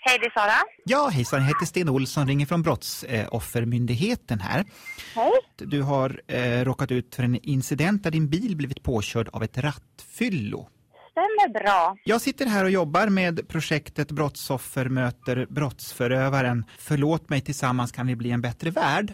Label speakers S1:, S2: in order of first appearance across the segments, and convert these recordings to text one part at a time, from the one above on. S1: Hej, det är Sara.
S2: Ja, hejsan, jag heter Sten Olsson, ringer från Brottsoffermyndigheten här.
S1: Hej.
S2: Du har eh, råkat ut för en incident där din bil blivit påkörd av ett rattfyllo.
S1: Stämmer bra.
S2: Jag sitter här och jobbar med projektet Brottsoffer möter brottsförövaren. Förlåt mig, tillsammans kan vi bli en bättre värld.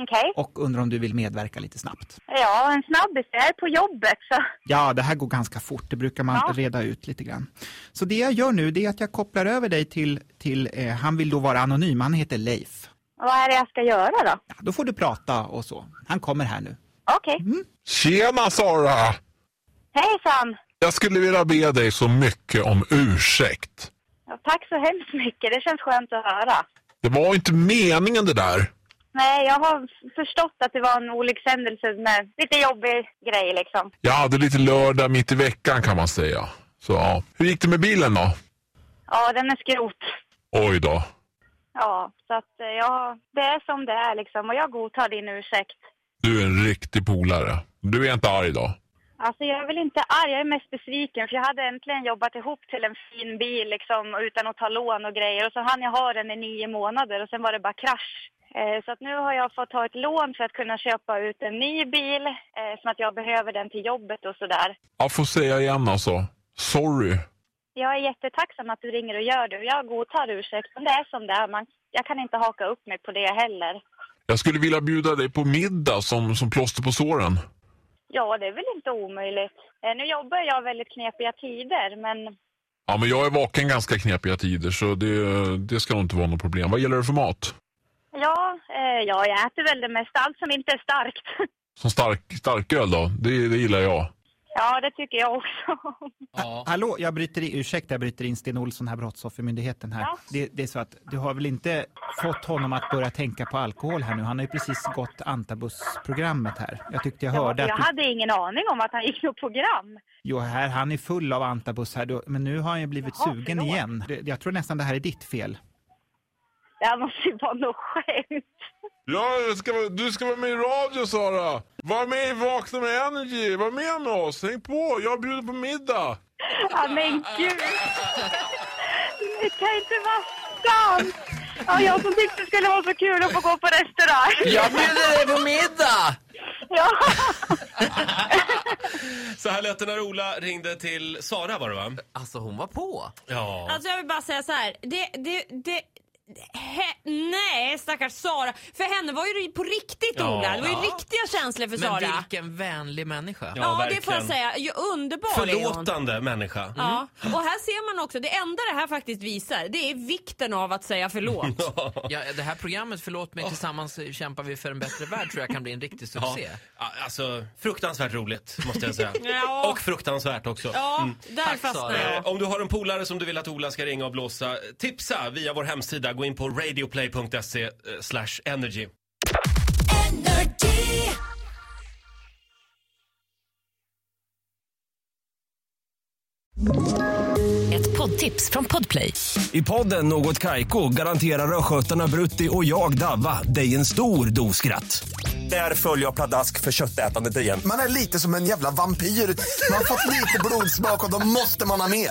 S1: Okej.
S2: Och undrar om du vill medverka lite snabbt.
S1: Ja, en snabbis. Jag är på jobbet, så
S2: Ja, det här går ganska fort. Det brukar man
S1: Ja.
S2: reda ut lite grann. Så det jag gör nu det är att jag kopplar över dig till, till eh, han vill då vara anonym, han heter Leif.
S1: vad är det jag ska göra då?
S2: Ja, då får du prata och så. Han kommer här nu.
S1: Okej.
S3: Tjena Sara!
S1: Hejsan.
S3: Jag skulle vilja be dig så mycket om ursäkt.
S1: Ja, tack så hemskt mycket. Det känns skönt att höra.
S3: Det var inte meningen det där.
S1: Nej, jag har f- förstått att det var en olyckshändelse med lite jobbig grej liksom.
S3: Jag hade lite lördag mitt i veckan kan man säga. Så ja. Hur gick det med bilen då?
S1: Ja, den är skrot.
S3: Oj då.
S1: Ja, så att eh, ja, det är som det är liksom och jag godtar din ursäkt.
S3: Du är en riktig polare. Du är inte arg då?
S1: Alltså jag är väl inte arg, jag är mest besviken för jag hade äntligen jobbat ihop till en fin bil liksom utan att ta lån och grejer och så hann jag ha den i nio månader och sen var det bara krasch. Eh, så att nu har jag fått ta ett lån för att kunna köpa ut en ny bil eh, som att jag behöver den till jobbet och sådär.
S3: Jag får säga igen alltså. Sorry.
S1: Jag är jättetacksam att du ringer och gör det och jag godtar ursäkt men det är som det är. Man, jag kan inte haka upp mig på det heller.
S3: Jag skulle vilja bjuda dig på middag som, som plåster på såren.
S1: Ja, det är väl inte omöjligt. Eh, nu jobbar jag väldigt knepiga tider men
S3: Ja, men jag är vaken ganska knepiga tider så det, det ska nog inte vara något problem. Vad gäller det för mat?
S1: ja, eh, ja jag äter väl det mesta, allt som inte är starkt.
S3: Som stark, starköl då? Det, det gillar jag.
S1: Ja, det tycker jag också.
S2: Ja. Hallå, jag bryter in, ursäkta jag bryter in Sten Olsson här, Brottsoffermyndigheten här.
S1: Ja.
S2: Det, det är så att du har väl inte fått honom att börja tänka på alkohol här nu? Han har ju precis gått Antabus-programmet här. Jag tyckte jag hörde
S1: jag
S2: att du,
S1: hade ingen aning om att han gick på program.
S2: jo, här, han är full av Antabus här, Du- men nu har han ju blivit
S1: Jaha,
S2: sugen
S1: förlåt.
S2: igen. Det, jag tror nästan det här är ditt fel.
S1: Det här måste ju vara något skämt.
S3: Ja, jag ska, vara- du ska vara med i radio Sara! Var med i Vakna med Energy! Var med med oss! Häng på! Jag bjuder på middag!
S1: Ja, men gud! Det kan inte vara sant! Ja, jag som tyckte det skulle vara så kul att få gå på restaurang.
S4: Jag bjuder dig på middag!
S1: Ja,
S5: Så här lät det när Ola ringde till Sara var det va?
S4: Alltså hon var på.
S5: Ja.
S6: Alltså jag vill bara säga så här. Det, det, det, he, nej stackars Sara. För henne var ju det på riktigt
S5: Ja.
S6: Ola. Det var ju
S4: Ja.
S6: riktiga känslor för
S4: Men
S6: Sara.
S4: vilken vänlig människa.
S5: Ja.
S6: Ja, det
S5: verkligen.
S6: får jag säga. Ju underbar är hon.
S5: Förlåtande människa.
S6: Ja.
S4: Mm.
S6: Och här ser man också, det enda det här faktiskt visar det är vikten av att säga förlåt.
S4: Ja, det här programmet, förlåt mig, tillsammans kämpar vi för en bättre värld tror jag kan bli en riktig
S5: Ja.
S4: succé.
S5: Ja, Alltså, fruktansvärt roligt måste jag säga.
S6: Ja.
S5: Och fruktansvärt också.
S6: Ja, där
S4: Tack,
S6: fastnar
S4: Sara.
S6: jag.
S5: Eh, Om du har en polare som du vill att Ola ska ringa och blåsa, tipsa via vår hemsida. Gå in på radioplay.se eh, slash energy.
S7: Ett poddtips från Podplay.
S8: I podden Något Kaiko garanterar östgötarna Brutti och jag, Davva, dig en stor dos skratt. Där följer jag pladask för köttätandet igen.
S9: Man är lite som en jävla vampyr. Man har fått lite blodsmak och då måste man ha mer.